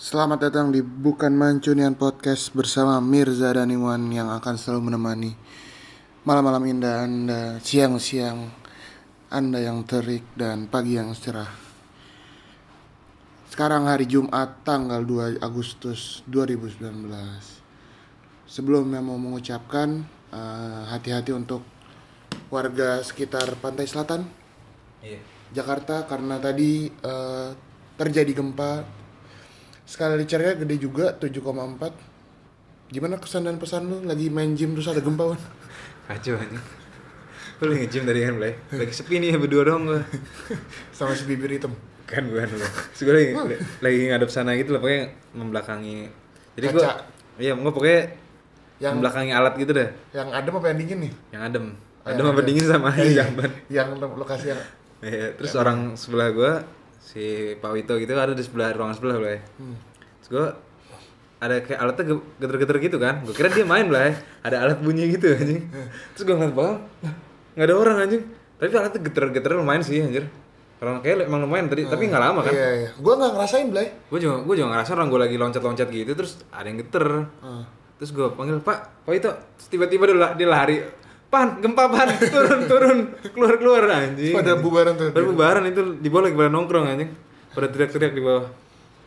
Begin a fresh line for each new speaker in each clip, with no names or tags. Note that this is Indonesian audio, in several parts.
Selamat datang di Bukan Mancunian Podcast bersama Mirza dan Iwan yang akan selalu menemani malam-malam indah Anda, siang-siang Anda yang terik dan pagi yang cerah. Sekarang hari Jumat tanggal 2 Agustus 2019. Sebelumnya mau mengucapkan eh, hati-hati untuk warga sekitar pantai selatan
Iya.
Jakarta karena tadi eh, terjadi gempa skala Richternya gede juga 7,4 gimana kesan dan pesan lu lagi main gym terus ada gempa Wan?
Kacau anjing. Lu lagi nge-gym tadi kan, Blay? Lagi sepi nih berdua dong gua.
sama si bibir hitam
Kan bukan gua. Terus gua lagi, lagi ngadep sana gitu loh, pokoknya membelakangi. Jadi gua
Kaca.
Iya, gua pokoknya
Yang-
membelakangi alat gitu deh.
yang adem apa yang dingin nih
Yang adem.
Oh, Yang
Adem apa
adem. Iya.
dingin sama aja jamban.
yang lo- lokasi yang
Iya, terus orang sebelah gua si Pak Wito gitu ada di sebelah ruangan sebelah Blay. Terus gua ada kayak alatnya ge- geter-geter gitu kan. Gua kira dia main Blay. Ada alat bunyi gitu anjing. Terus gua ngeliat bawah, "Lah, nggak ada orang anjing. Tapi alatnya geter-geter lumayan sih anjir. Orang kayak emang lumayan tadi, tapi nggak lama kan.
iya iya gua nggak ngerasain Blay
Gua juga gua juga ngerasa orang gua lagi loncat-loncat gitu terus ada yang geter.
Hmm.
Terus gua panggil, "Pak, Pak Wito." Terus tiba-tiba dia la- dia lari. Pan, gempa pan, turun, turun, keluar, keluar anjing.
pada bubaran tuh
Baru bubaran itu di bawah lagi pada nongkrong anjing. Pada teriak-teriak di bawah.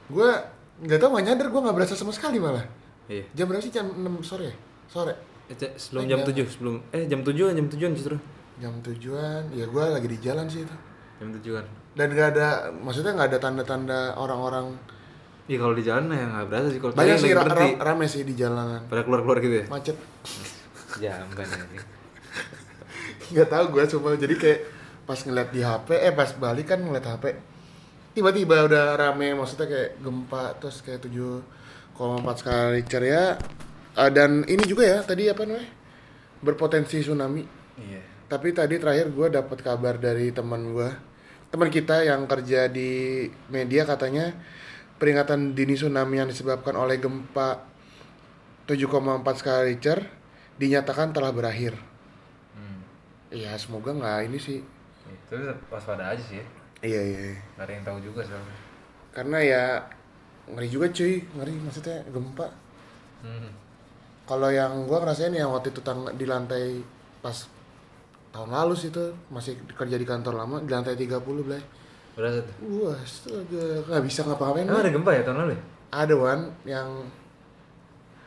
gua nggak tahu nggak nyadar gua nggak berasa sama sekali malah
Iya.
jam berapa sih jam 6 sore ya? sore
Eh, ce- Sebelum jam 7, sebelum eh jam 7 jam 7 justru.
jam tujuan ya gua lagi di jalan sih itu
Jam 7-an.
dan nggak ada maksudnya nggak ada tanda-tanda orang-orang
Iya kalau di jalan ya nggak berasa sih kalau
banyak
tadi
sih
lagi
ra-
berhenti.
ra- rame sih di jalanan
Pada keluar-keluar gitu ya.
macet
Jamban Ya, anjing.
nggak tahu gue cuma jadi kayak pas ngeliat di HP eh pas balik kan ngeliat HP tiba-tiba udah rame maksudnya kayak gempa terus kayak 7,4 skala Richter ya Ah, dan ini juga ya tadi apa namanya berpotensi tsunami
Iya.
tapi tadi terakhir gue dapat kabar dari teman gue teman kita yang kerja di media katanya peringatan dini tsunami yang disebabkan oleh gempa 7,4 skala Richter dinyatakan telah berakhir
Hmm.
Iya, semoga nggak ini sih.
Itu waspada aja sih.
Iya, iya. iya.
Gak ada yang tahu juga soalnya.
Karena ya ngeri juga cuy, ngeri maksudnya gempa.
Hmm.
Kalau yang gua ngerasain yang waktu itu tang di lantai pas tahun lalu sih tuh masih kerja di kantor lama di lantai 30 belai.
Berasa tuh.
Wah, astaga, nggak bisa ngapa-ngapain.
Emang
Wan.
ada gempa ya tahun lalu ya?
Ada wan yang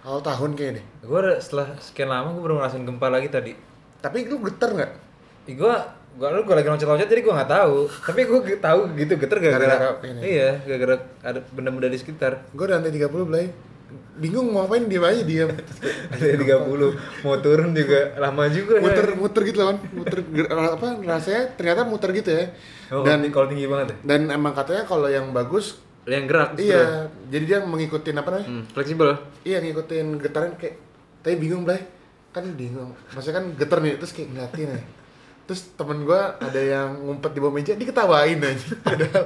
awal tahun kayaknya deh.
Gue setelah sekian lama gue baru ngerasain gempa lagi tadi.
Tapi lu geter nggak?
Ih, gua gua lu gua lagi loncat-loncat jadi gua nggak tahu. Tapi gua ge- tahu gitu geter gara-gara
Gara-gara ini.
iya, gara-gara ada benda-benda di sekitar.
Gua di lantai 30 belai. Bingung mau ngapain diem aja diam.
Ada 30 mau turun juga lama juga. ya.
muter muter gitu loh, Wan. muter ger- apa rasanya ternyata muter gitu ya.
dan
Dan
kalau tinggi banget ya.
Dan emang katanya kalau yang bagus
Yang gerak justru.
iya, jadi dia mengikutin apa namanya?
Hmm, fleksibel.
Iya, ngikutin getaran kayak tapi bingung Blay. Kan bingung. Maksudnya kan getar nih terus kayak ngeliatin ya. Terus temen gua ada yang ngumpet di bawah meja diketawain aja. Padahal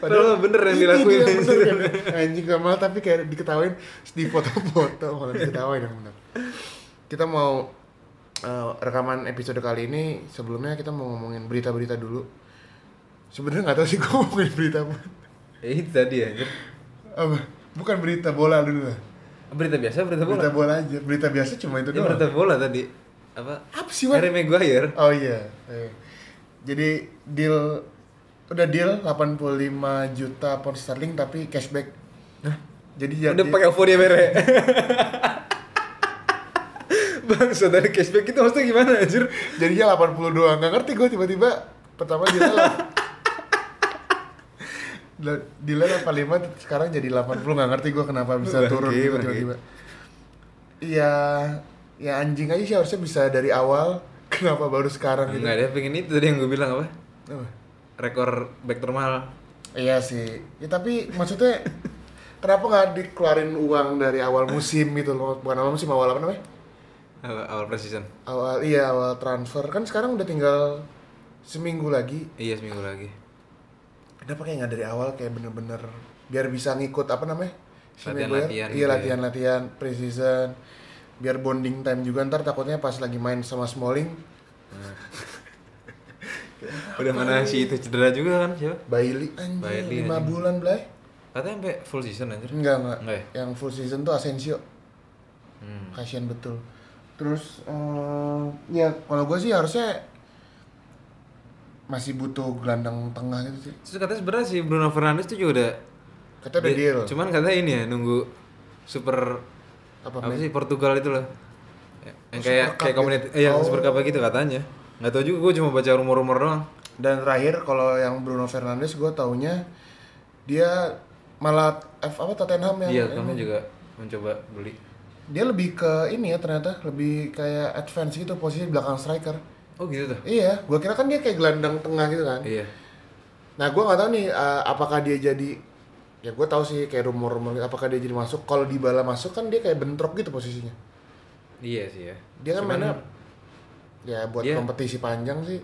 Padahal bener yang
Iya,
dilakuin.
iya, bener kan. Anjing gak malah tapi kayak diketawain terus dipoto-foto malah diketawain yang bener. Kita mau eh, rekaman episode kali ini sebelumnya kita mau ngomongin berita-berita dulu. Sebenarnya nggak tahu sih gua ngomongin berita apa.
Ya, itu tadi ya. anjir.
Apa? Bukan berita bola dulu lah.
Berita biasa, berita bola.
Berita bola aja. Berita biasa cuma itu
Ini
doang.
berita bola tadi. Apa?
Apa sih, Wan?
Harry Maguire.
Oh iya. Eh. Jadi deal udah deal 85 juta pound sterling tapi cashback. Jadi jadi
Udah pakai OVO dia bere. Bangsa dari cashback itu maksudnya gimana anjir?
jadinya 80 doang. Gak ngerti gue tiba-tiba pertama dia lah. Dealnya 85 sekarang jadi 80 nggak ngerti gue kenapa bisa
Bangke,
turun gitu
bangke.
tiba-tiba. Iya, ya anjing aja sih harusnya bisa dari awal. Kenapa baru sekarang gitu?
Enggak dia pengen itu tadi yang gue bilang apa?
Apa?
Rekor back termahal.
Iya sih. Ya, tapi maksudnya kenapa nggak dikeluarin uang dari awal musim gitu loh? Bukan awal musim, awal apa namanya?
Apa, awal precision.
Awal iya awal transfer. Kan sekarang udah tinggal seminggu lagi.
Iya seminggu lagi.
Kenapa kayak nggak dari awal kayak bener-bener biar bisa ngikut apa namanya? Si
Latihan-latihan
Maguire?
gitu
Iya
ya.
latihan-latihan preseason. biar bonding time juga ntar takutnya pas lagi main sama Smalling
Udah mana si itu cedera juga kan siapa?
Bailey anjir
Bailey,
lima
anjing.
bulan Blay
Katanya sampai full season anjir.
enggak enggak
Enggak ya?
yang full season tuh Asensio
Hmm.
kasihan betul terus eh, ya kalau gue sih harusnya masih butuh gelandang tengah gitu sih
Terus katanya sebenarnya si Bruno Fernandes tuh juga udah
kata udah
dia-
deal
Cuman katanya ini ya nunggu super
apa,
apa,
men?
sih Portugal itu loh. Ya, Yang
Super
kayak
Cup
kayak
gitu.
community eh yang
Oh.
super cup gitu katanya. Enggak tahu juga gue cuma baca rumor-rumor doang.
dan terakhir kalau yang Bruno Fernandes gue taunya dia malah F apa Tottenham yang
Iya, kamu juga mencoba beli.
dia lebih ke ini ya ternyata lebih kayak advance gitu posisi belakang striker
Oh gitu tuh.
iya gue kira kan dia kayak gelandang tengah gitu kan
Iya.
Nah, gua nggak tahu nih eh, apakah dia jadi ya gue tahu sih kayak rumor-rumor gitu, apakah dia jadi masuk. Kalau Dybala masuk kan dia kayak bentrok gitu posisinya.
Iya sih ya.
Dia kan
Cuman-
mainnya ya buat
Iya.
kompetisi panjang sih.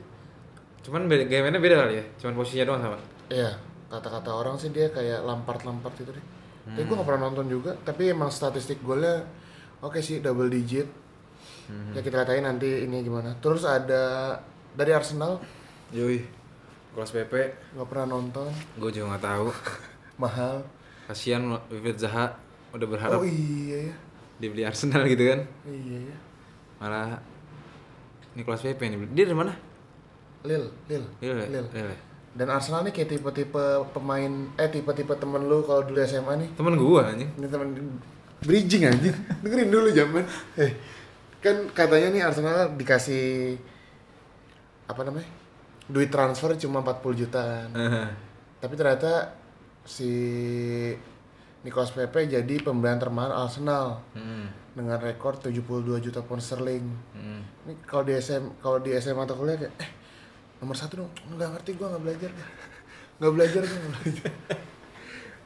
Cuman beda, gamenya beda kali ya. Cuman posisinya doang sama.
Iya, kata-kata orang sih dia kayak lampart-lampart gitu deh. Tapi
Hmm.
gue gak pernah nonton juga, tapi emang statistik golnya oke sih double digit.
Hmm.
Ya kita katain nanti ini gimana. Terus ada dari Arsenal
Yoi. Kelas PP
nggak pernah nonton,
gue juga nggak tahu.
mahal.
Kasihan Vivid Zaha udah berharap
Oh iya ya.
dibeli Arsenal gitu kan.
Iya ya.
Malah Nicolas Pepe yang dibeli. Dia dari mana?
Lil, Lil.
Lille. ya? Lille. ya?
Dan Arsenal nih kayak tipe-tipe pemain eh tipe-tipe temen lu kalau dulu SMA nih.
Temen gua anjing.
Ini temen bridging anjir. Dengerin dulu zaman. Eh. Kan katanya nih Arsenal dikasih apa namanya? Duit transfer cuma 40 juta kan.
Eh. Hmm.
Tapi ternyata si Nikos Pepe jadi pembelian termahal Arsenal
Hmm.
dengan rekor 72 juta pound sterling.
Hmm.
Ini kalau di SM kalau di SMA atau kuliah kayak eh nomor satu dong nggak ngerti gue nggak belajar gue nggak belajar gue nggak belajar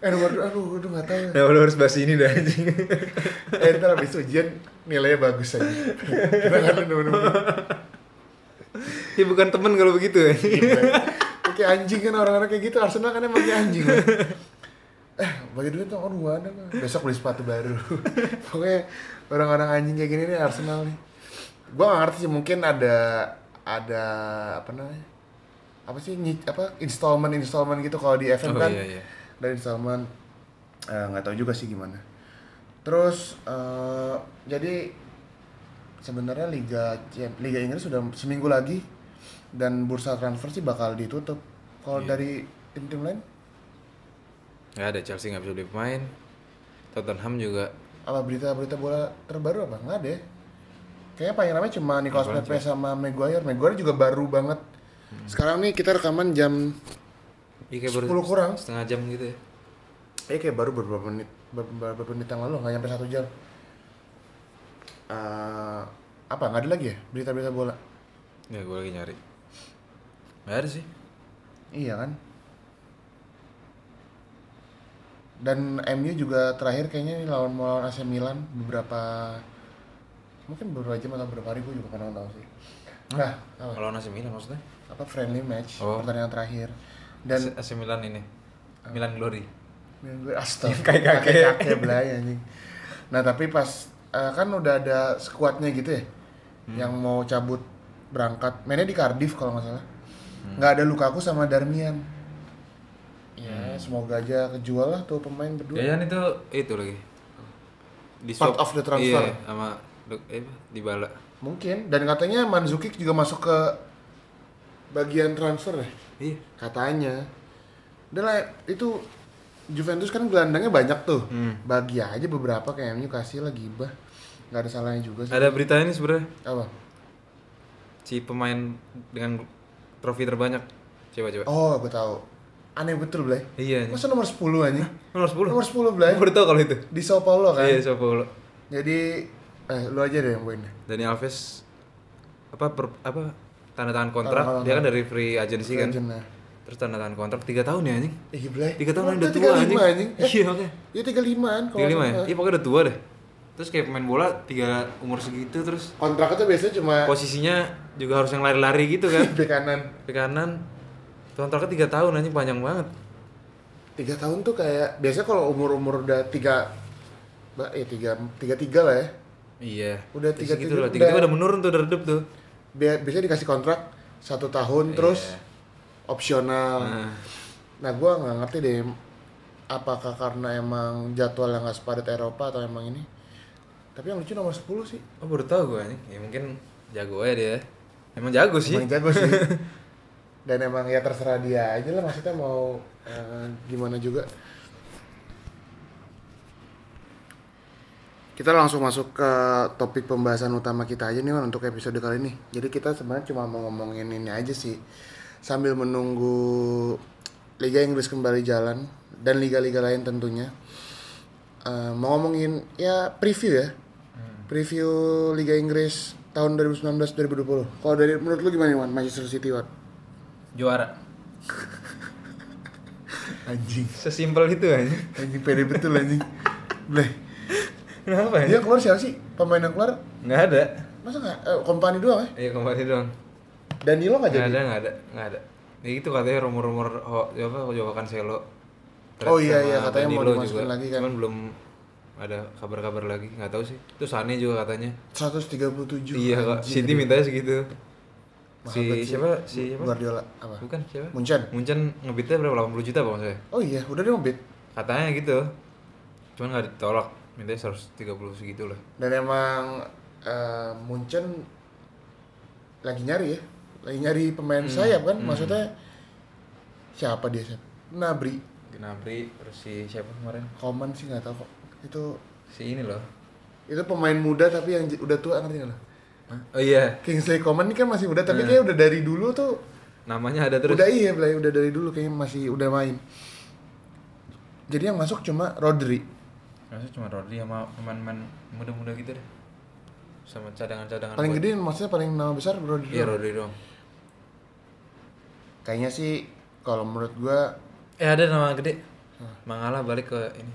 eh nomor dua aduh aduh nggak tahu
Nah, lu harus bahas ini dah anjing.
eh ntar abis ujian nilainya bagus aja kita nggak ada nomor
ya bukan temen kalau begitu anjing.
oke anjing kan orang-orang kayak gitu Arsenal kan emang kayak anjing kan. eh bagi duit dong aduh nggak ada nggak. besok beli sepatu baru pokoknya orang-orang anjing kayak gini nih Arsenal nih gue nggak ngerti sih mungkin ada ada apa namanya apa sih nyi- apa installment installment gitu kalau di FM
Oh,
kan
iya, iya.
dari installment Eh, nggak tahu juga sih gimana terus eh, jadi sebenarnya liga Champ- liga Inggris sudah seminggu lagi dan bursa transfer sih bakal ditutup kalau
Iya.
dari tim-tim lain
Gak ada Chelsea nggak bisa beli pemain. Tottenham juga
apa berita-berita bola terbaru apa nggak ada ya? kayaknya paling ramai cuma Nicolas Pepe Hmm. sama Maguire Maguire juga baru banget sekarang nih kita rekaman jam
Iya kayak
10
baru
kurang
setengah jam gitu ya.
Eh kayak baru beberapa menit ber- beberapa menit yang lalu nggak nyampe satu jam. Eh, apa nggak ada lagi ya berita-berita bola?
Ya gue lagi nyari. Gak ada sih.
Iya kan. Dan MU juga terakhir kayaknya ini lawan mau lawan AC Milan beberapa mungkin beberapa jam atau beberapa hari gue juga kurang tahu sih. Nah, apa,
Kalau nasi Milan maksudnya?
apa friendly match
Oh.
pertandingan terakhir
Dan
dan
AC Milan ini. Milan Glory.
Yang gue astaga
Kakek-kakek.
kakek belai anjing nah tapi pas eh, kan udah ada skuadnya gitu ya yang mau cabut berangkat mainnya di Cardiff kalau nggak salah nggak ada Lukaku sama Darmian ya semoga aja kejual lah tuh pemain berdua
Jajan itu itu lagi. Di
Part of the transfer.
Iya, sama Lu- eh, di bala.
mungkin dan katanya Manzukic juga masuk ke bagian transfer ya
Iya.
katanya udah lah itu Juventus kan gelandangnya banyak tuh
Hmm.
bagi aja beberapa kayak MU kasih lah gibah nggak ada salahnya juga sih
Ada berita ini sebenarnya
apa
si pemain dengan trofi terbanyak. Coba coba.
Oh, gue tahu. Aneh betul, Blay.
Iya.
Masa nomor 10 aja?
Nomor 10.
Nomor 10, Blay.
Gua Baru tau kalau itu.
Di Sao Paulo kan?
Iya, siapa lo?
Jadi, eh, lu aja deh yang poin deh.
Dani Alves apa per, apa tanda tangan kontrak
Tanda tangan
dia kan dari free agency kan
Legend, nah.
terus tanda tangan kontrak 3 tahun ya anjing
Ih, Eh, iya, Blay.
3 tahun
Lu
udah tua
35,
anjing,
anjing. Eh,
iya oke
Iya, 35-an. kalau
35 ya?
nggak salah.
Iya pokoknya udah tua deh Terus kayak pemain bola tiga umur segitu terus
Kontrak itu biasanya cuma
posisinya juga harus yang lari-lari gitu kan
di kanan.
Ke kanan kontraknya 3 tahun anjing panjang banget
3 tahun tuh kayak, biasanya kalau umur-umur udah 3, ya 3, 33 lah ya.
Iya.
Udah
Terus
tiga-
gitu
tiga-
loh. Tiga-tiga
udah.
udah menurun tuh udah redup tuh.
Bi- biasanya dikasih kontrak satu tahun terus opsional
Nah.
nah gua nggak ngerti deh apakah karena emang jadwal yang nggak sepadat Eropa atau emang ini tapi yang lucu nomor 10 sih
Oh baru tau gue nih. Ya mungkin jago aja dia. Emang jago sih.
emang jago sih dan emang ya terserah dia aja lah maksudnya mau eh, gimana juga kita langsung masuk ke topik pembahasan utama kita aja nih Wan untuk episode kali ini jadi kita sebenarnya cuma mau ngomongin ini aja sih sambil menunggu Liga Inggris kembali jalan dan liga-liga lain tentunya Eh, mau ngomongin ya preview ya preview Liga Inggris tahun 2019-2020 kalau dari menurut lu gimana Wan Manchester City Wan
Juara.
anjing
Sesimpel itu aja.
anjing pede betul anjing Bleh
Kenapa ya?
dia keluar siapa sih pemain yang keluar
Nggak ada.
masa nggak eh, kompani doang ya
Iya kembali doang.
Danilo nggak jadi
Nggak ada, nggak ada, nggak ada. Ya itu katanya rumor-rumor ho, ya apa Joao Cancelo.
Oh iya,
Sama
iya, katanya mau
Danilo
dimasukin
juga.
lagi kan.
Cuman belum ada kabar-kabar lagi, nggak tahu sih. Itu Sane juga katanya.
137
iya
anjing.
kak, City mintanya segitu.
Mahal
Si
banget sih.
siapa? Si siapa?
Guardiola Iya, apa
Bukan siapa?
Munchen
Munchen ngebitnya berapa? 80 juta bang saya.
oh iya udah dia mau bid
Katanya gitu. Cuman nggak ditolak. Mintanya 130 segitu lah.
dan emang eh, Munchen lagi nyari ya lagi nyari pemain
Hmm.
sayap kan maksudnya siapa dia sih Nabri
Gnabry, terus si siapa kemarin?
Komen sih nggak tahu kok itu
Si ini loh.
itu pemain muda tapi yang j- udah tua ngerti nggak lo?
Oh iya,
Kingsley Coman ini kan masih muda tapi kayak udah dari dulu tuh
namanya ada Iya. terus.
udah iya Blay, udah dari dulu kayaknya masih udah main jadi yang masuk cuma Rodri
Maksudnya cuma Rodri sama pemain-pemain muda-muda gitu deh. Sama cadangan-cadangan.
paling
buat-
gede maksudnya paling nama besar Rodri
Ah, Iya Rodri dong.
kayaknya sih kalau menurut gua
Eh ada nama gede. Mangala balik ke ini.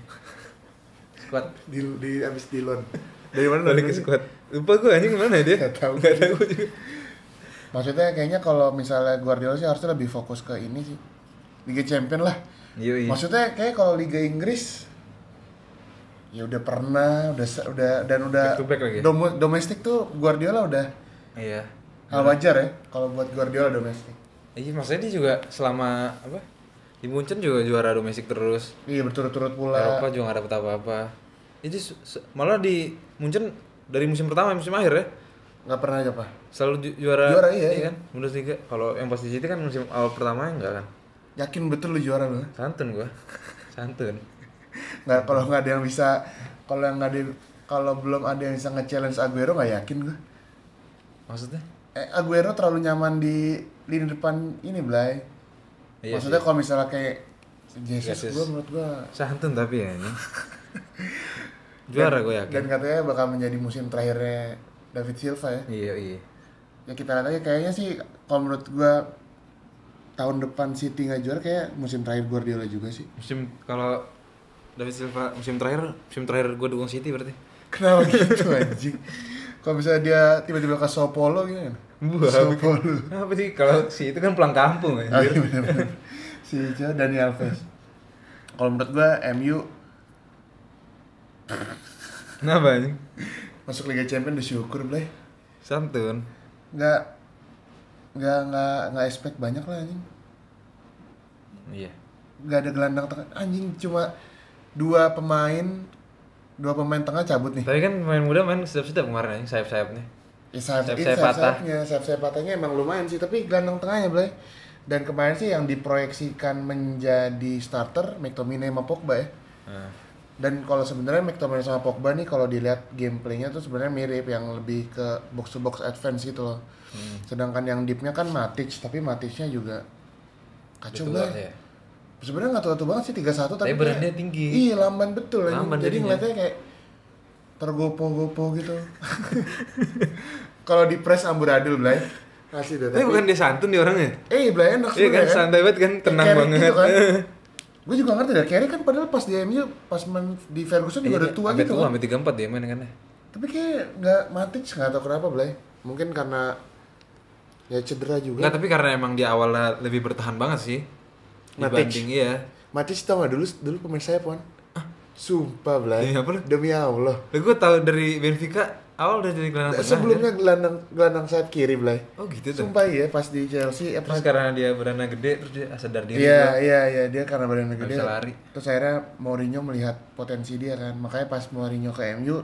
Squad.
di, di abis di loan dari mana
balik ke
Rodri?
squad. Lupa gue anjing mana dia?
Nggak tahu.
Nggak tahu gua juga.
maksudnya kayaknya kalau misalnya Guardiola sih harusnya lebih fokus ke ini sih Liga Champion lah
Yoi.
maksudnya kayak kalau Liga Inggris ya udah pernah udah se- udah dan udah
Back to back lagi ya?
domo- domestik tuh Guardiola udah
Iya.
hal wajar ya kalau buat Guardiola domestik
Iya maksudnya dia juga selama apa? Di Munchen juga juara domestik terus.
iya berturut-turut pula
Eropa juga nggak dapet apa-apa. Itu se- se- malah di Munchen dari musim pertama sampai musim akhir ya
nggak pernah aja pak
selalu ju- juara
Juara, iya, iya.
kan Bundesliga kalau yang pasti City kan musim awal pertama enggak kan
yakin betul lu juara lu ya?
santun gua santun
nggak kalau nggak ada yang bisa kalau yang nggak ada kalau belum ada yang bisa nge-challenge Aguero nggak yakin gue
maksudnya
eh, Aguero terlalu nyaman di lini depan ini Blay
Iya
maksudnya kalau misalnya kayak Jesus,
Jesus.
gue menurut gue
santun tapi ya ini juara gua yakin
dan katanya bakal menjadi musim terakhirnya David Silva ya
iya iya
ya kita lihat aja kayaknya sih kalau menurut gue tahun depan City nggak juara kayak musim terakhir Guardiola juga sih
musim kalau David Silva musim terakhir musim terakhir gua dukung City berarti
Kenapa gitu anjing? Kalau misalnya dia tiba-tiba ke Sao Paulo gitu kan?
Buah.
Sao Paulo.
apa sih kalau si itu kan pulang kampung
Ah,
ya
iya bener-bener. si Jo Dani Alves. Kalau menurut gua MU
kenapa anjing
masuk Liga Champions disyukur bleh.
santun
Nggak nggak nggak nggak expect banyak lah anjing.
iya
Nggak ada gelandang tengah anjing cuma dua pemain dua pemain tengah cabut nih.
tapi kan pemain muda main sedap-sedap kemarin anjing sayap-sayapnya
Ya, sayap
Sayap-sayap
sayap
patah.
sayapnya, sayap sayap patahnya emang lumayan sih, tapi gelandang tengahnya bleh. Dan kemarin sih yang diproyeksikan menjadi starter McTominay sama Pogba ya.
Nah.
Dan kalau sebenarnya McTominay sama Pogba nih kalau dilihat gameplaynya tuh sebenarnya mirip yang lebih ke box to box advance gitu loh.
Hmm.
Sedangkan yang deepnya kan Matic, tapi Maticnya juga kacau
Betul
banget.
ya.
Sebenarnya nggak tua-tua banget sih 31 tapi,
Tapi badannya
kayak-
tinggi.
Iya, lamban betul anjing.
Lamban
Jadi
jadinya.
ngeliatnya kayak tergopo-gopo gitu. kalau di press amburadul, Blay. Kasih deh.
Tapi bukan dia santun dia orangnya.
Eh, Blay enak
Iya kan, santai banget kan, tenang banget.
Gue gitu juga ngerti dah, Carey kan padahal pas di MU, pas main di Ferguson juga udah tua
Iya, Sampai
gitu
tua,
kan.
sampai 34 dia main kan. ya.
Tapi kayak nggak Matic nggak tahu kenapa Blay. Mungkin karena ya cedera juga.
Enggak, tapi karena emang di awalnya lebih bertahan banget sih.
Matic.
Dibanding iya.
Matic tau nggak dulu dulu pemain sayap kan? Sumpah Blay.
Demi Iya, apa lu?
Demi Allah.
Lah gue tahu dari Benfica awal udah jadi gelandang tengah
Sebelumnya gelandang gelandang sayap kiri Blay.
dia. oh gitu tuh
Sumpah iya pas di Chelsea eh,
terus
pas-
karena dia berana gede terus dia sadar diri
Iya, iya, iya, dia karena badannya
Nggak
gede.
bisa lari.
Terus akhirnya Mourinho melihat potensi dia kan. Makanya pas Mourinho ke MU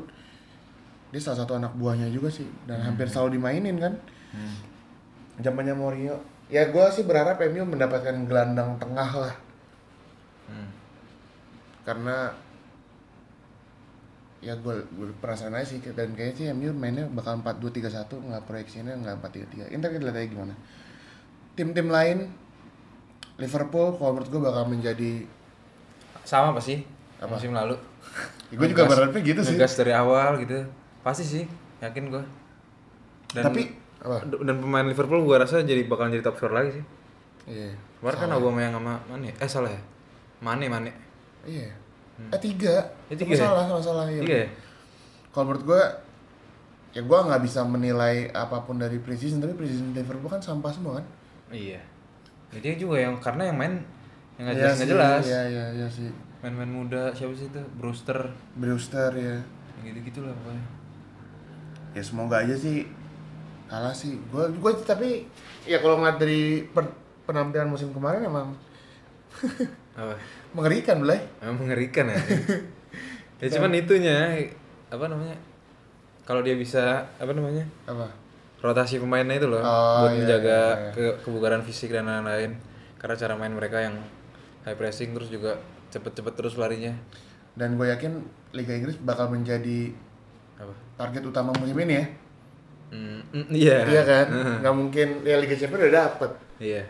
dia salah satu anak buahnya juga sih dan
Hmm.
hampir selalu dimainin kan. Zamannya Mourinho. Ya gua sih berharap MU mendapatkan gelandang tengah lah
Hmm.
karena ya gue perasaan aja sih dan kayaknya sih MU mainnya bakal 4-2-3-1 nggak proyeksinya nggak 4-3-3 ini kita lihat aja gimana tim-tim lain Liverpool kalau menurut gue bakal menjadi
sama apa sih musim lalu
Ya, gua juga
Ngegas-
berharapnya gitu sih.
ngegas dari awal gitu pasti sih yakin gue
tapi apa
dan pemain Liverpool gue rasa jadi bakal jadi top scorer lagi sih
iya
kemarin kan Aubameyang sama Mane eh salah ya Mane Mane
iya eh tiga
Ya, tiga ya?
masalah masalah iya
iya ya?
kalau menurut gue ya gue nggak bisa menilai apapun dari preseason tapi preseason Liverpool kan sampah semua kan
iya Ya, dia juga yang karena yang main yang nggak
Iya
jelas nggak
sih,
jelas
iya iya iya sih
main-main muda siapa sih itu Brewster
Brewster ya
gitu gitulah pokoknya
ya semoga aja sih kalah sih gua gua tapi ya kalau ngeliat dari per- penampilan musim kemarin emang
apa
mengerikan belai
Oh, Emang mengerikan ya. ya cuman itunya apa namanya? Kalau dia bisa apa namanya?
apa
Rotasi pemainnya itu loh
Oh,
buat
iya,
menjaga
iya, iya.
ke- kebugaran fisik dan lain-lain. Karena cara main mereka yang high pressing terus juga cepet-cepet terus larinya.
dan gue yakin Liga Inggris bakal menjadi
Apa?
target utama musim ini ya
Mm, mm, iya.
iya kan nggak mungkin ya Liga Champions udah dapet
Iya.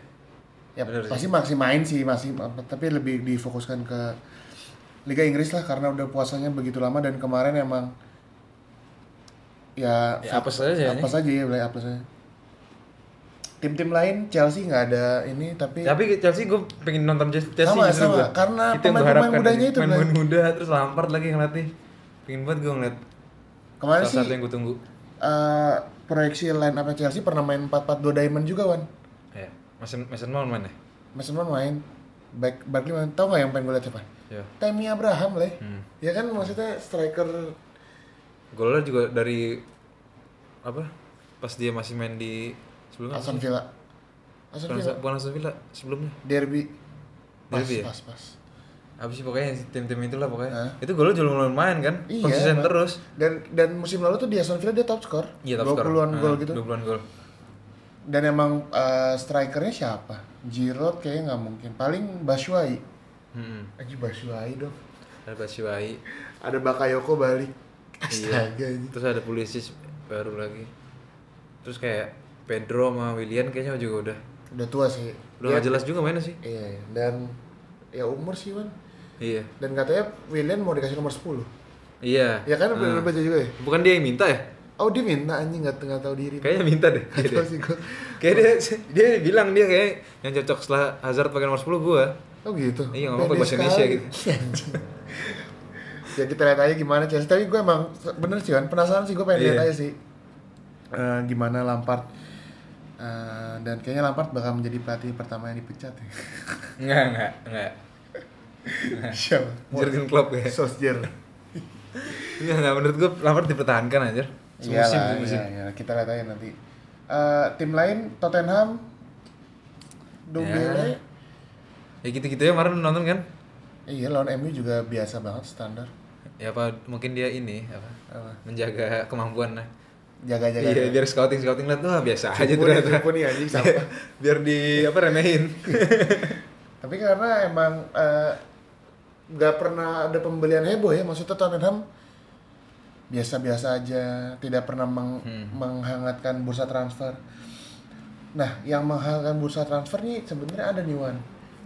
ya
Bener sih.
pasti masih main sih masih tapi lebih difokuskan ke Liga Inggris lah karena udah puasanya begitu lama dan kemarin emang ya,
Ya, apes aja ya,
apa saja ya Blay, apes aja tim-tim lain Chelsea nggak ada ini tapi
Tapi Chelsea gue pengen nonton Chelsea
Sama,
justru
sama.
gua.
Karena
Itu yang gua
pemain-pemain
harapkan
mudanya
aja.
itu,
Pemain-pemain muda terus Lampard lagi yang latih. Pengen banget gue ngeliat
kemarin
salah
sih
satu yang gue tunggu.
eh, proyeksi line up Chelsea pernah main 4-4-2 diamond juga wan
Ya, Mason Mason Mount mana?
Mason Mount main back Barkley main tau nggak yang pengen gue lihat siapa
Ya.
Tammy Abraham lah
Hmm.
ya kan maksudnya striker
Golnya juga dari apa? Pas dia masih main di sebelumnya.
Aston Villa Aston
Bukan
Villa
bukan Aston Villa sebelumnya.
derby pas
Derby ya?
pas pas
Apa sih pokoknya tim-tim itulah pokoknya.
Hah?
Itu golnya juga lumayan main kan?
Iya,
Konsisten
emang.
terus.
dan dan musim lalu tuh di Aston Villa dia top skor
Iya, top
20-an
scorer.
gol
Ah,
gitu
20-an gol.
dan emang eh, strikernya siapa Giroud kayaknya nggak mungkin paling Batshuayi
Heeh.
Aji Batshuayi dong
Hmm. Ada Batshuayi.
ada Bakayoko balik
Iya.
astaga ini
Terus ada Pulisic baru lagi. Terus kayak Pedro sama Willian kayaknya juga udah
udah tua sih
udah nggak jelas juga mainnya sih.
iya iya. dan ya umur sih man
Iya.
dan katanya William mau dikasih nomor 10
Iya.
ya kan bener baca juga ya
Bukan dia yang minta ya?
oh dia minta anjing nggak nggak tahu diri
Kayaknya minta deh.
Nggak tahu sih gua.
Kayak dia, dia bilang dia kayak yang cocok setelah Hazard pakai nomor 10 gua.
Oh gitu.
Iya, nggak apa-apa,
Pede
bahasa Indonesia
sekali.
gitu.
Iya, anjing. ya kita lihat aja gimana Chelsea. Tapi gue emang se- bener sih kan penasaran sih gue pengen lihat
Iya.
aja sih eh, gimana Lampard Eh, dan kayaknya Lampard bakal menjadi pelatih pertama yang dipecat ya.
Enggak, enggak, enggak.
Siapa?
Jurgen Klopp ya.
Solskjaer.
Enggak, enggak menurut gua Lampard dipertahankan anjir.
Iya
Semusim,
lah,
semusim.
iya, iya. Kita lihat aja nanti. Eh, tim lain Tottenham, Dombele.
Ya gitu-gitu ya kemarin nonton kan?
Iya lawan MU juga biasa banget standar.
Ya apa mungkin dia ini apa?
Apa?
Menjaga kemampuan lah.
Jaga-jaga.
Iya, biar scouting scouting lihat wah biasa aja
Cupu nih,
ternyata. Iya,
cupu nih, kan? anjing sampah.
biar di apa remehin.
Tapi karena emang eh, nggak pernah ada pembelian heboh ya, maksudnya Tottenham biasa-biasa aja, tidak pernah meng- menghangatkan bursa transfer. Nah, yang menghangatkan bursa transfer nih sebenarnya ada nih Wan,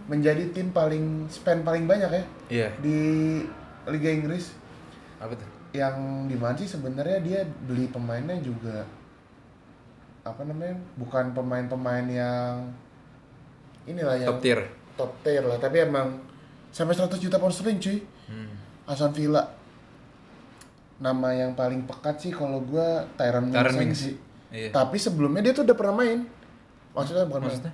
menjadi tim paling spend paling banyak ya
Iya.
di Liga Inggris
Apa tuh?
yang di mana sih sebenarnya dia beli pemainnya juga apa namanya bukan pemain-pemain yang inilah yang
Top tier.
top tier lah tapi emang sampai 100 juta pound sterling cuy
Hmm.
Aston Villa nama yang paling pekat sih kalau gua Tyron Mings,
Tyron Mings.
sih
Iya.
tapi sebelumnya dia tuh udah pernah main maksudnya bukan main.
Maksudnya?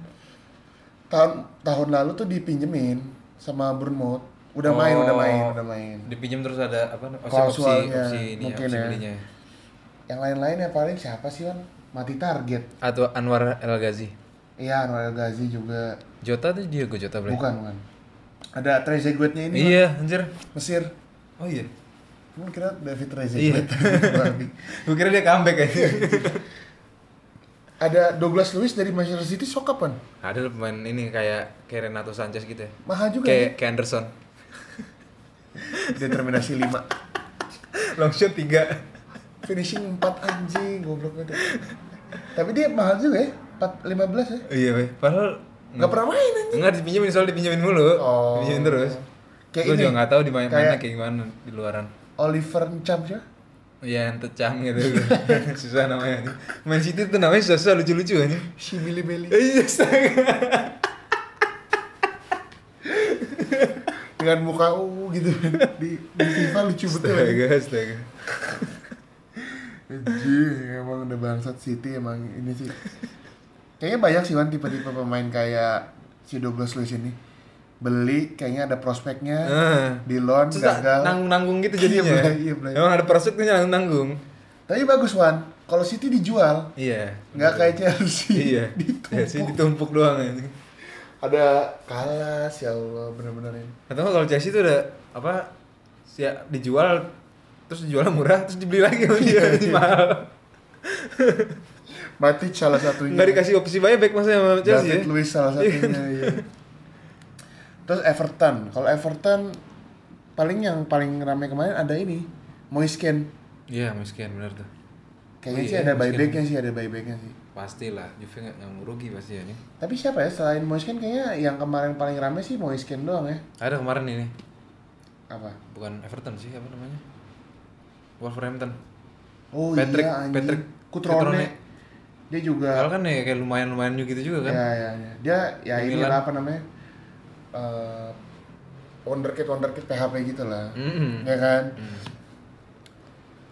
tahun tahun lalu tuh dipinjemin sama Bournemouth udah main
Oh.
udah main udah main
Dipinjam terus ada apa opsi opsi,
Klausulnya,
opsi ini ya,
iya, mungkin
opsi
ya.
belinya.
yang lain-lain yang paling siapa sih kan mati target
Atau Anwar El Ghazi.
iya Anwar El Ghazi juga
Jota tuh Diego Jota berarti.
bukan bukan ada Trezeguetnya ini Bang.
Iya, anjir.
Mesir
Oh iya.
Cuman kira David Trezeguet Babi.
Gue kira dia comeback aja.
ada Douglas Lewis dari Manchester City sok kapan
Ada loh pemain ini kayak kayak Renato Sanchez gitu ya.
mahal juga
Kayak kayak Anderson.
ya. determinasi 5
Long shot 3.
finishing 4 anjing goblok banget tapi dia mahal juga ya 4, 15 ya
Iya, weh. Padahal
nggak pernah main anjing
Enggak dipinjemin soalnya dipinjemin mulu.
Oh.
Dipinjemin terus.
Kayak
Gue
ini.
juga nggak tahu di mana kayak,
Kayak-
kayak gimana di luaran.
Oliver Ncam ya
Iya, yang tecang gitu. susah namanya. anjing. Man City tuh namanya susah, lucu-lucu aja.
si Billy Bailey
Iya, astaga.
dengan muka uh gitu di, di FIFA lucu betul ya.
Astaga, astaga.
Anjing, emang udah bangsat City emang ini sih. Kayaknya banyak sih kan tipe-tipe pemain kayak si Douglas Luiz ini. Beli kayaknya ada prospeknya,
Ah.
Eh, di loan
Susah
gagal.
nanggung-nanggung gitu
Iya,
jadinya.
Blay, iya, Blay.
Emang ada prospeknya nanggung-nanggung.
Tapi bagus Wan, kalau City dijual
Iya.
nggak kayak Chelsea.
Iya.
Ditumpuk.
Ya, sih ditumpuk doang anjing.
Ada kalah, ya Allah bener-bener ini.
Atau nggak kalau Chelsea itu udah apa si dijual terus dijualnya murah terus dibeli lagi sama
Iya,
dia jadi mahal.
Mati salah satunya.
Nggak dikasih opsi buyback maksudnya sama Chelsea ya?
David Luiz salah satunya iya. Terus Everton, kalau Everton paling yang paling rame kemarin ada ini Moisken.
Iya miskin bener tuh
Kayaknya
Oh
sih
iya,
ada
Moise Kean.
buybacknya sih, ada buybacknya sih.
Pastilah Juve nggak nggak mau rugi pasti ya ini.
Tapi siapa ya selain Moisken kayaknya yang kemarin paling rame sih Moisken doang ya.
Ada kemarin ini
Apa?
bukan Everton sih apa namanya Wolverhampton.
Oh
Patrick-
iya anjing.
Patrick
Cutrone.
Cutrone.
Dia juga
Kalau kan ya kayak lumayan lumayan juga gitu juga kan.
ya ya ya. Dia ya
Di
ini
Milan.
lah apa namanya? Eh wonderkid wonderkid PHP gitu lah.
Mm-mm.
Ya kan?
Hmm.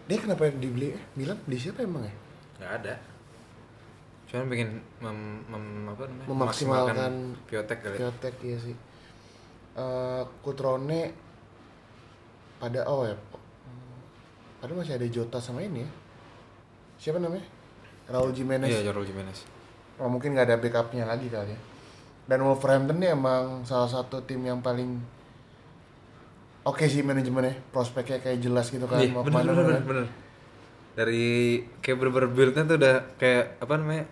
Dia kenapa dibeli? eh, Milan beli siapa emang ya?
nggak ada cuman pengen mem, mem- apa namanya
Memaksimalkan
Piotek kali ya.
Piotek iya sih. Eh Kutrone pada oh ya. Padahal masih ada Jota sama ini ya. Siapa namanya? Raul Jimenez.
iya Jorul Jimenez
Oh, mungkin nggak ada backupnya lagi kali ya. Dan Wolverhampton nih emang salah satu tim yang paling oke sih manajemennya, prospeknya kayak jelas gitu kan
iya
mau
bener
kemana
bener, bener
kan.
bener. dari kayak bener-bener build-nya tuh udah kayak apa namanya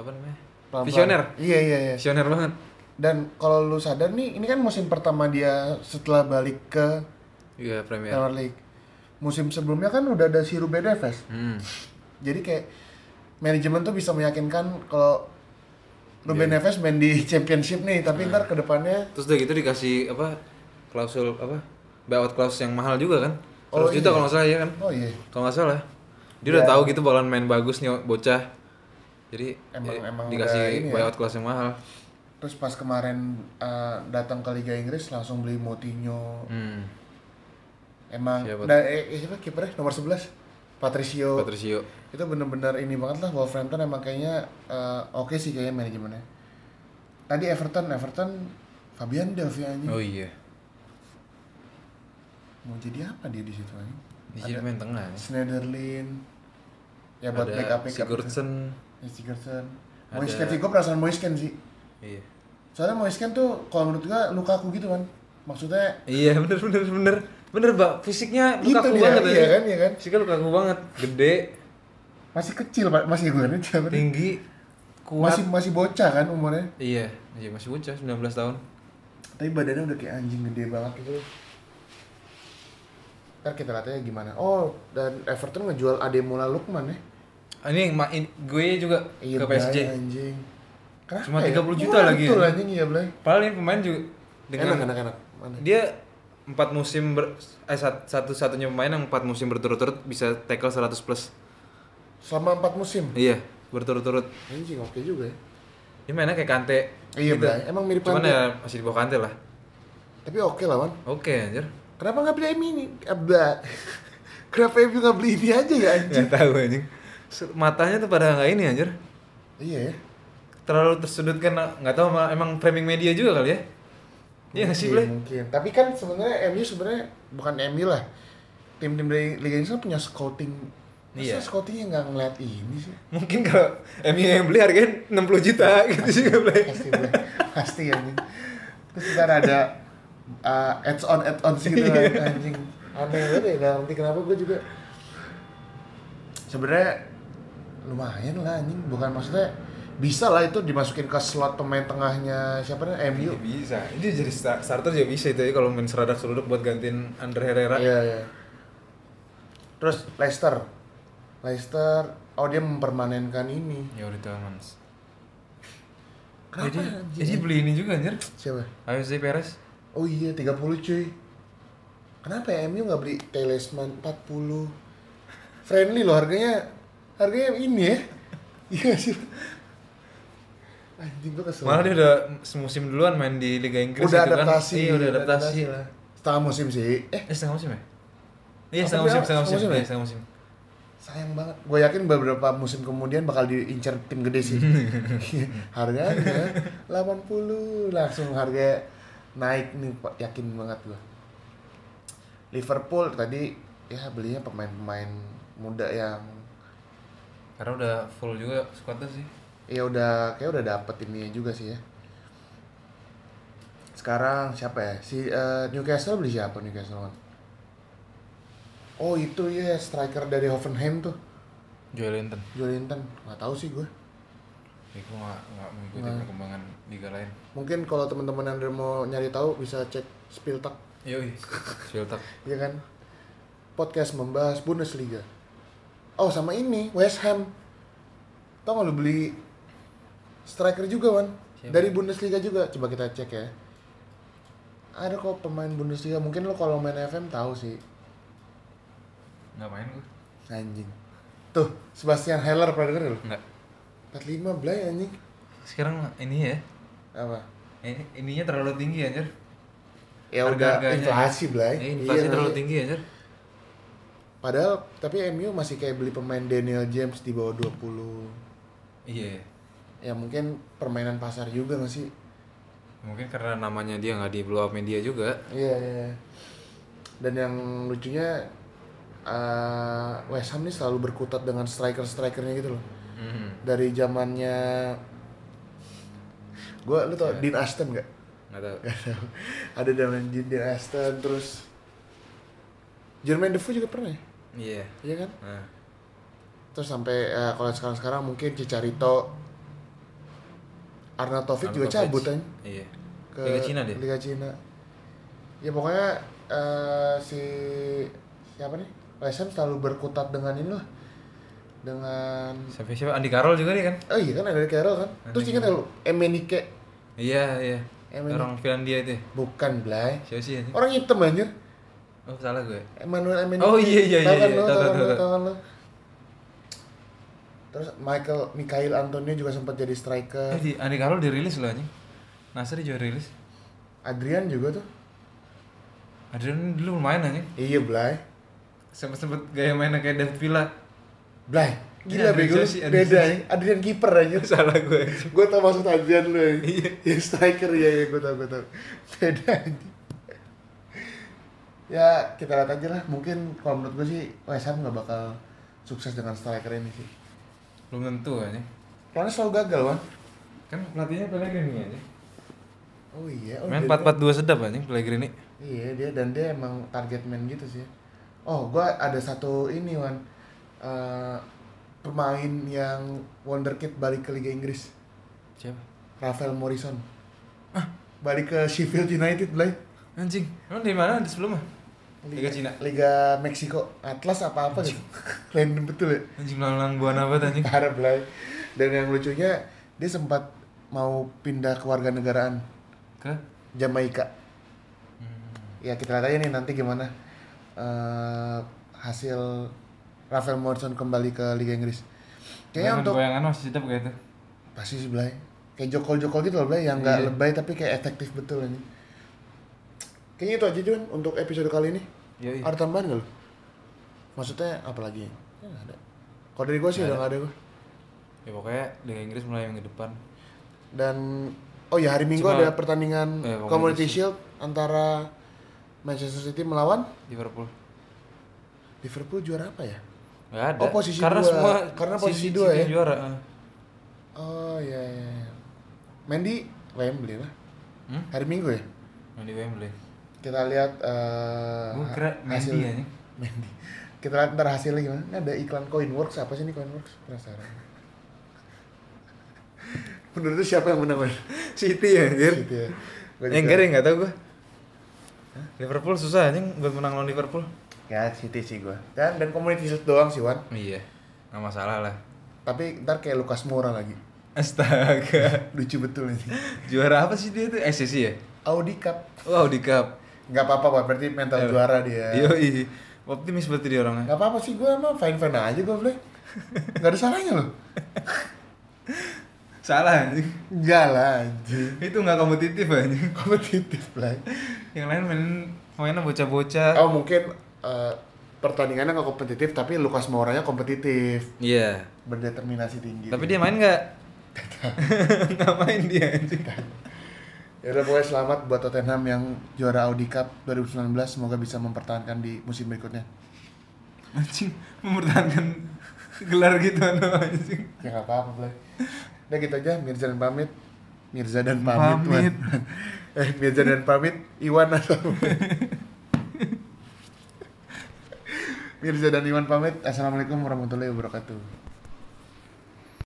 apa namanya
Pelan-pelan.
visioner
Iya iya iya.
visioner banget
Dan kalau lu sadar nih, ini kan musim pertama dia setelah balik ke
iya Premier
Premier League. Musim sebelumnya kan udah ada si Ruben Neves.
hmm.
Jadi kayak manajemen tuh bisa meyakinkan kalau Ruben
Iya.
Neves main di championship nih, tapi ntar kedepannya
terus udah gitu dikasih apa klausul apa buyout clause yang mahal juga kan
Oh,
100 juta
iya.
kalau nggak salah ya kan
oh iya
kalau nggak salah dia udah tahu gitu bakalan main bagus nih bocah jadi
Emang-
ya,
emang
dikasih
udah ini ya.
buyout clause yang mahal
Terus pas kemarin eh, datang ke Liga Inggris langsung beli Moutinho.
hmm.
Emang
Siapa?
dan eh, eh, siapa kipernya nomor 11? Patricio.
Patricio
Itu bener-bener ini banget lah Wolverhampton emang kayaknya eh, oke sih kayaknya manajemennya. Tadi Everton, Everton Fabian Delphi anjing.
Oh iya.
Mau jadi apa dia di situ anjing?
Di sini main tengah. ya.
Schneiderlin. Ya buat
Ada
backup backup.
Sigurdsson.
Ya, Sigurdsson.
Ada-
Moisken sih, gue perasaan Moisken sih.
Iya.
Soalnya Moisken tuh kalau menurut gue Lukaku gitu kan. Maksudnya
Iya, bener bener bener. Bener, Mbak. Fisiknya
Gitu
Lukaku
dia,
banget.
iya
ya.
kan, iya kan?
Fisiknya Lukaku banget. Gede,
masih kecil Pak. masih gue nih siapa nih?
tinggi, kuat.
masih masih bocah kan umurnya
Iya, iya masih bocah 19 tahun.
tapi badannya udah kayak anjing gede banget gitu ntar kita lihat aja gimana oh dan Everton ngejual Ademola Lukman ya Iya,
Ah, Ini yang main gue juga ke
Blay,
PSG.
anjing Kenapa
Cuma
ya?
30 juta
Murah
lagi,
betul
anjing.
anjing ya Blay
Padahal ini pemain juga dengan
enak enak enak mana
dia empat musim ber, eh satu satunya pemain yang empat musim berturut-turut bisa tackle 100 plus.
selama 4 musim
Iya, berturut-turut.
anjing oke juga ya
Dia mainnya kayak Kante.
Iya, Blay. Emang mirip
Cuman
Kante.
ya masih di bawah Kante lah.
tapi oke lah man
Oke, anjir.
kenapa nggak beli ini abda kenapa MU nggak beli ini aja ya anjing
Gak tahu anjing. Se- Matanya tuh pada nggak ini anjir.
iya ya
Terlalu tersudut kan nggak tahu ma- emang framing media juga kali ya. Iya nggak sih
Mungkin,
boleh.
mungkin tapi kan sebenarnya MU sebenarnya bukan MU lah tim-tim dari Liga Inggris kan punya scouting Masa
Iya.
Scotty nggak ngeliat ini sih?
Mungkin kalau MU yang beli harganya 60 juta gitu sih nggak boleh.
Pasti gue, pasti anjing. Terus ntar ada uh, ads on ads on gitu
Iya.
kan, anjing. Aneh banget ya, nggak ngerti kenapa gue juga. Sebenarnya lumayan lah anjing, bukan maksudnya bisa lah itu dimasukin ke slot pemain tengahnya siapa nih MU.
Iya, bisa. Itu jadi sta- starter juga bisa itu ya kalau main seradak seruduk buat gantiin Andre Herrera.
Iya, iya. Terus Leicester. Leicester, oh dia mempermanenkan ini.
Ya udah Tillmans.
Kenapa,
Jadi,
anjing?
jadi beli ini juga anjir.
Siapa?
AFC Perez.
Oh iya, 30 cuy. Kenapa ya MU nggak beli Talisman 40? Friendly loh harganya. Harganya ini ya. Iya nggak sih. Anjing gua kesel.
Malah dia udah semusim duluan main di Liga Inggris
udah
gitu
adaptasi.
kan. Iya, udah adaptasi lah.
Setengah musim sih. Eh,
Eh setengah musim ya? Iya
Apa
setengah
dia?
musim, setengah
Setengah
musim,
musim
iya
ya?
setengah musim.
sayang banget. Gue yakin beberapa musim kemudian bakal diincar tim gede sih. harganya 80 langsung harga naik nih Pak. yakin banget gue. Liverpool tadi ya belinya pemain-pemain muda yang
Karena udah full juga squadnya sih.
ya udah kayak udah dapet ini juga sih ya. Sekarang siapa ya? Si eh, Newcastle beli siapa Newcastle? Wan? Oh itu ya striker dari Hoffenheim tuh,
Joel Linton.
Joelinton. Nggak tahu sih gue.
Ya, gue nggak nggak mengikuti
Nah.
perkembangan liga lain.
Mungkin kalau teman-teman yang mau nyari tahu bisa cek Spiltak,
Yoi. Shiltak.
ya kan? Podcast membahas Bundesliga. Oh, sama ini West Ham. Tau nggak lu beli striker juga, Wan?
Siapa?
Dari Bundesliga juga. Coba kita cek ya. Ada kok pemain Bundesliga. Mungkin lo kalau main FM tahu sih.
Nggak main gue.
Anjing. Tuh, Sebastian Heller pernah denger lu?
Nggak.
45 belai anjing.
Sekarang ini ya.
Apa?
eh, Ininya terlalu tinggi anjir.
Ya udah
Harga-harganya.
inflasi belai.
Eh, inflasi
Iya,
terlalu
iya.
tinggi anjir.
Padahal tapi MU masih kayak beli pemain Daniel James di bawah 20.
Iya. iya.
Ya mungkin permainan pasar juga nggak sih?
Mungkin karena namanya dia nggak di blow up media juga.
Iya, iya. iya. Dan yang lucunya eh, West Ham ini selalu berkutat dengan striker-strikernya gitu loh.
Hmm.
Dari zamannya gua lu tau Dean Aston nggak?
Nggak tahu.
Ada zaman Dean Aston terus Jermain Defoe juga pernah ya?
Iya.
Iya kan?
Nah.
terus sampai eh, kalau sekarang sekarang mungkin Cicarito Arna Taufik juga
Arnautovic.
cabut kan
Iya. Liga Cina dia.
Liga Cina ya pokoknya eh, si siapa nih West Ham selalu berkutat dengan ini lah dengan
Siapa siapa? Andi Carroll juga dia kan?
oh iya kan ada Carroll kan terus ingat nggak lu Emenike
Iya iya.
Emang-
Orang Finlandia itu. ya.
bukan Blay
Siapa sih anjir?
orang hitam anjir
Oh salah gue.
Emmanuel Emenike
Oh, iya, iya,
Tahu
iya,
kan
iya.
lu,
Tahu,
tahu
tahu,
kan lu,
tahu.
tahu kan lu. terus Michael Mikhail Antonio juga sempat jadi striker
Eh, di, Andi Carroll dirilis loh anjing. Nasri juga rilis.
Adrian juga tuh.
Adrian dulu lumayan anjing.
Iya, Blay.
Sempet-sempet gaya mainnya kayak David Villa.
Blay.
Iya,
Gila
Adrian
bego. lu.
Joshi, Adrian
Beda
Joshi.
ya. Adrian kiper aja.
salah gue. anjing.
gue tau maksud Adrian lu ya. Iya. striker ya, ya gue tau, gue tau. Beda aja. Ya, kita lihat aja lah. Mungkin kalau menurut gue sih West Ham nggak bakal sukses dengan striker ini sih.
Belum tentu anjing.
Karena selalu gagal, Wan.
Kan pelatihnya Pellegrini anjing.
Oh iya. Oh, dia-
Main 4-4-2 sedap anjing Pellegrini.
Iya dia dan dia emang target man gitu sih. Oh gua ada satu ini Wan Eh, pemain yang wonderkid balik ke Liga Inggris
Siapa?
Rafael Morrison balik ke Sheffield United Blay
Anjing. Emang dari mana sebelumnya? Liga Cina.
Liga Meksiko Atlas apa apa gitu random betul ya
Anjing lalang buana banget anjing.
parah Blay dan yang lucunya dia sempat mau pindah ke warga negaraan
Ke
Jamaika. Ya kita lihat aja nih nanti gimana eh, hasil Rafael Morrison kembali ke Liga Inggris. Kayaknya
Bayangan-
untuk
bayangan masih sedap kayak itu.
pasti sih Blay. Kayak jokol-jokol gitu loh Blay yang nggak
Iya.
lebay tapi kayak efektif betul ini. Kayaknya itu aja Jun untuk episode kali ini.
Yoi.
Ada tambahan nggak lo? Maksudnya apa lagi? Ya, nggak ada. Kalau dari gue sih udah nggak ada gue.
Ya pokoknya Liga Inggris mulai minggu depan.
Dan oh ya hari Minggu
Cuma-
ada pertandingan
Eh,
Community
Community
Shield antara Manchester City melawan
Liverpool.
Liverpool juara apa ya?
Gak ada.
Oh, posisi
karena
dua.
semua
Karena
City-
posisi
City
dua ya?
yang Juara. eh.
Oh iya iya. iya. Main di Wembley lah.
Hmm?
Hari Minggu ya.
Main di Wembley.
Kita lihat eh
Gua kira Mendy
hasil-
anjing.
Mendy. Kita lihat ntar hasilnya gimana. Ini ada iklan Coinworks apa sih ini Coinworks? Penasaran. Menurut lu siapa yang menang, Man?
City anjir.
Gitu ya. Gua
Yang
juga-
enggak enggak Eh, tahu gua. Liverpool susah anjing buat menang lawan Liverpool.
Ya, City sih gua. Dan dan community shield doang sih, Wan.
Iya. Gak masalah lah.
Tapi ntar kayak Lucas Moura lagi.
Astaga.
Lucu betul ini.
Juara apa sih dia tuh? SCC ya?
Audi Cup.
Wow, di cup.
Gak apa-apa, Wan. Berarti mental juara dia.
Yoi. Optimis berarti dia orangnya.
Gak apa-apa sih, gue emang fine-fine aja gue boleh Gak ada salahnya loh
Salah anjing.
Enggak lah anjing
Itu nggak kompetitif anjing.
Kompetitif lah
Yang lain main mainnya bocah-bocah.
Oh mungkin eh, pertandingannya gak kompetitif tapi Lukas Mouranya kompetitif
Iya.
Berdeterminasi tinggi
Tapi dia main nggak? nggak main dia anjing.
Yaudah Ya pokoknya selamat buat Tottenham yang juara Audi Cup 2019 Semoga bisa mempertahankan di musim berikutnya
Anjing mempertahankan gelar gitu anu anjing.
Ya gak apa-apa boleh Udah gitu aja, Mirza dan pamit Mirza dan pamit,
Pamit.
Wan. eh, Mirza dan pamit, Iwan assalamualaikum. Mirza dan Iwan pamit, Assalamualaikum warahmatullahi wabarakatuh